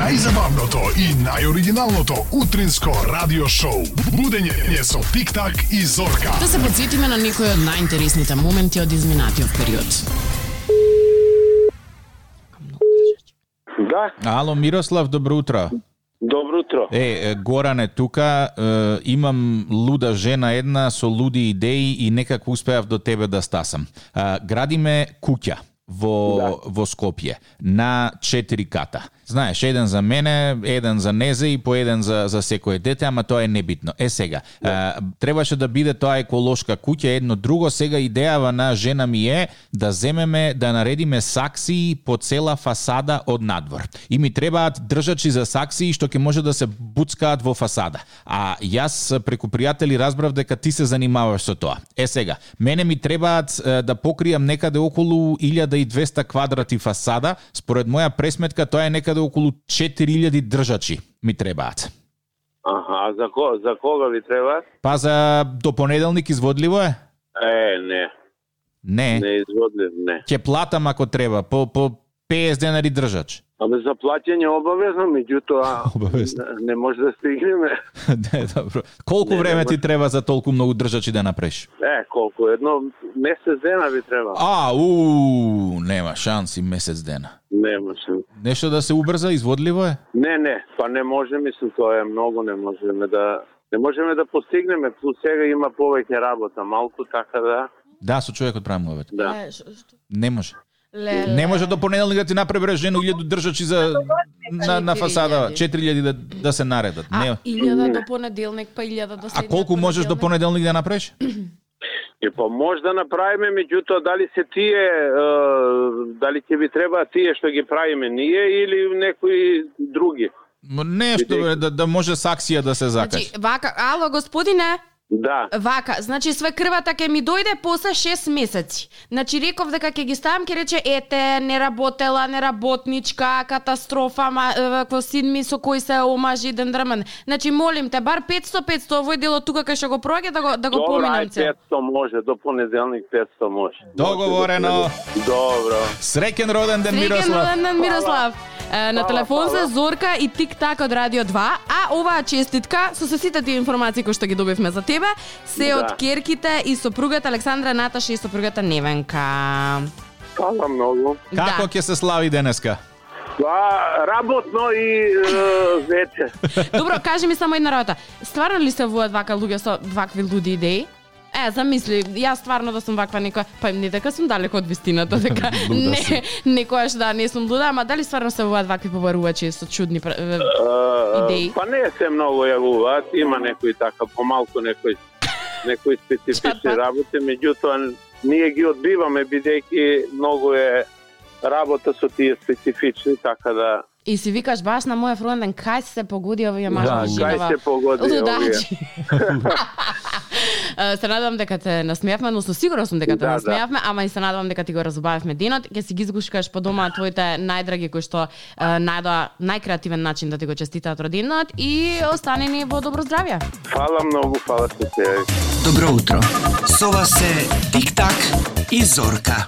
Најзабавното и најоригиналното утринско радио шоу. Будење со Тик-так и Зорка. Да се подсетиме на некои од најинтересните моменти од изминатиот период. Да, Ало, Мирослав, добро утро. добро утро. Е, е, Горан е тука, е, имам луда жена една со луди идеи и некако успеав до тебе да стасам. А, градиме куќа во, да. во Скопје на четири ката. Знаеш, еден за мене, еден за незе и по еден за, за секое дете, ама тоа е небитно. Е сега, да. а, требаше да биде тоа еколошка куќа, едно друго, сега идејава на жена ми е да земеме, да наредиме саксии по цела фасада од надвор. И ми требаат држачи за саксии што ќе може да се буцкаат во фасада. А јас преку пријатели разбрав дека ти се занимаваш со тоа. Е сега, мене ми требаат е, да покријам некаде околу 1200 квадрати фасада, според моја пресметка тоа е некаде околу 4000 држачи ми требаат. Аха, а за, ко, за кога ви треба? Па за до понеделник изводливо е? Е, не, Не. не изводлив, не. Ќе платам ако треба, по по 50 денари држач. Абе за плаќање обавезно, меѓутоа Обавезно. не- не може да стигнеме. Не, добро. Колку време ти треба за толку многу држачи да направиш? Е, колку, едно месец дена ви треба. А, у, нема шанси месец дена. Не може. Нешто да се убрза, изводливо е? Не, не, па не може, мислам, тоа е многу, не можеме да... Не можеме да постигнеме, плюс сега има повеќе работа, малку, така да... Да, со човекот правим ловет. да. Е, ш- што- Не може. Ле, ле. Не може до понеделник да ти направи жена илјаду држачи за на, на фасада, 4000 да, да се наредат. А, Не. илјада до понеделник, па илјада до А следниот колку можеш до понеделник? понеделник да направиш? И па може да направиме, меѓутоа дали се тие, е, дали ќе ви треба тие што ги правиме ние или некои други. М, Нешто бе, да, да може саксија да се закачи. Значи, вака, ало господине, Да, вака, значи све крвата ќе ми дојде после 6 месеци. Значи реков дека ќе ги ставам, ќе рече ете, не работела, не работничка, катастрофа, ма, е, во сидми со кој се омажи ден дрмен. Значи молим те, бар 500 500 овој дело тука кај што го проаѓа да го да го добро, ај поминам се. 500 може, до понеделник 500 може. да Договорено. Добро. Среќен роден ден Среќен Мирослав. роденден Мирослав. Е, на Фала, телефон се фала. Зорка и Тик Так од Радио 2, а оваа честитка со се сите тие информации кои што ги добивме за тебе, се Да. од керките и сопругата Александра Наташа и сопругата Невенка. Фала многу. Како да. ќе се слави денеска? Па, работно и е, вече. Да. Добро, кажи ми само една работа. Стварно ли се вуат вака луѓе со вакви луди идеи? Е, замисли, јас стварно да сум ваква некоја, па не дека сум далеко од вистината, дека Луда не, некојаш да не сум луда, ама дали стварно се вуат вакви побарувачи со чудни пр- е, Е, Идеи. Па не се многу јавуваат, има некои така помалку некои некои специфични Чапат. работи, меѓутоа ние ги одбиваме бидејќи многу е работа со тие специфични, така да И си викаш баш на мојот фронтен кај се погоди овие Да, мажа кај се погоди Лудачи. Е, се надевам дека те насмеавме, но со сигурност сум дека те Да, да. насмеавме, ама и се надевам дека ти го разубавивме денот, ќе си ги изгушкаш по дома твоите најдраги кои што е, најдоа најкреативен начин да ти го честитаат роденденот и остани ни во добро здравје. Фала многу, фала што се јавите. Добро утро. Сова се Тик-так и Зорка.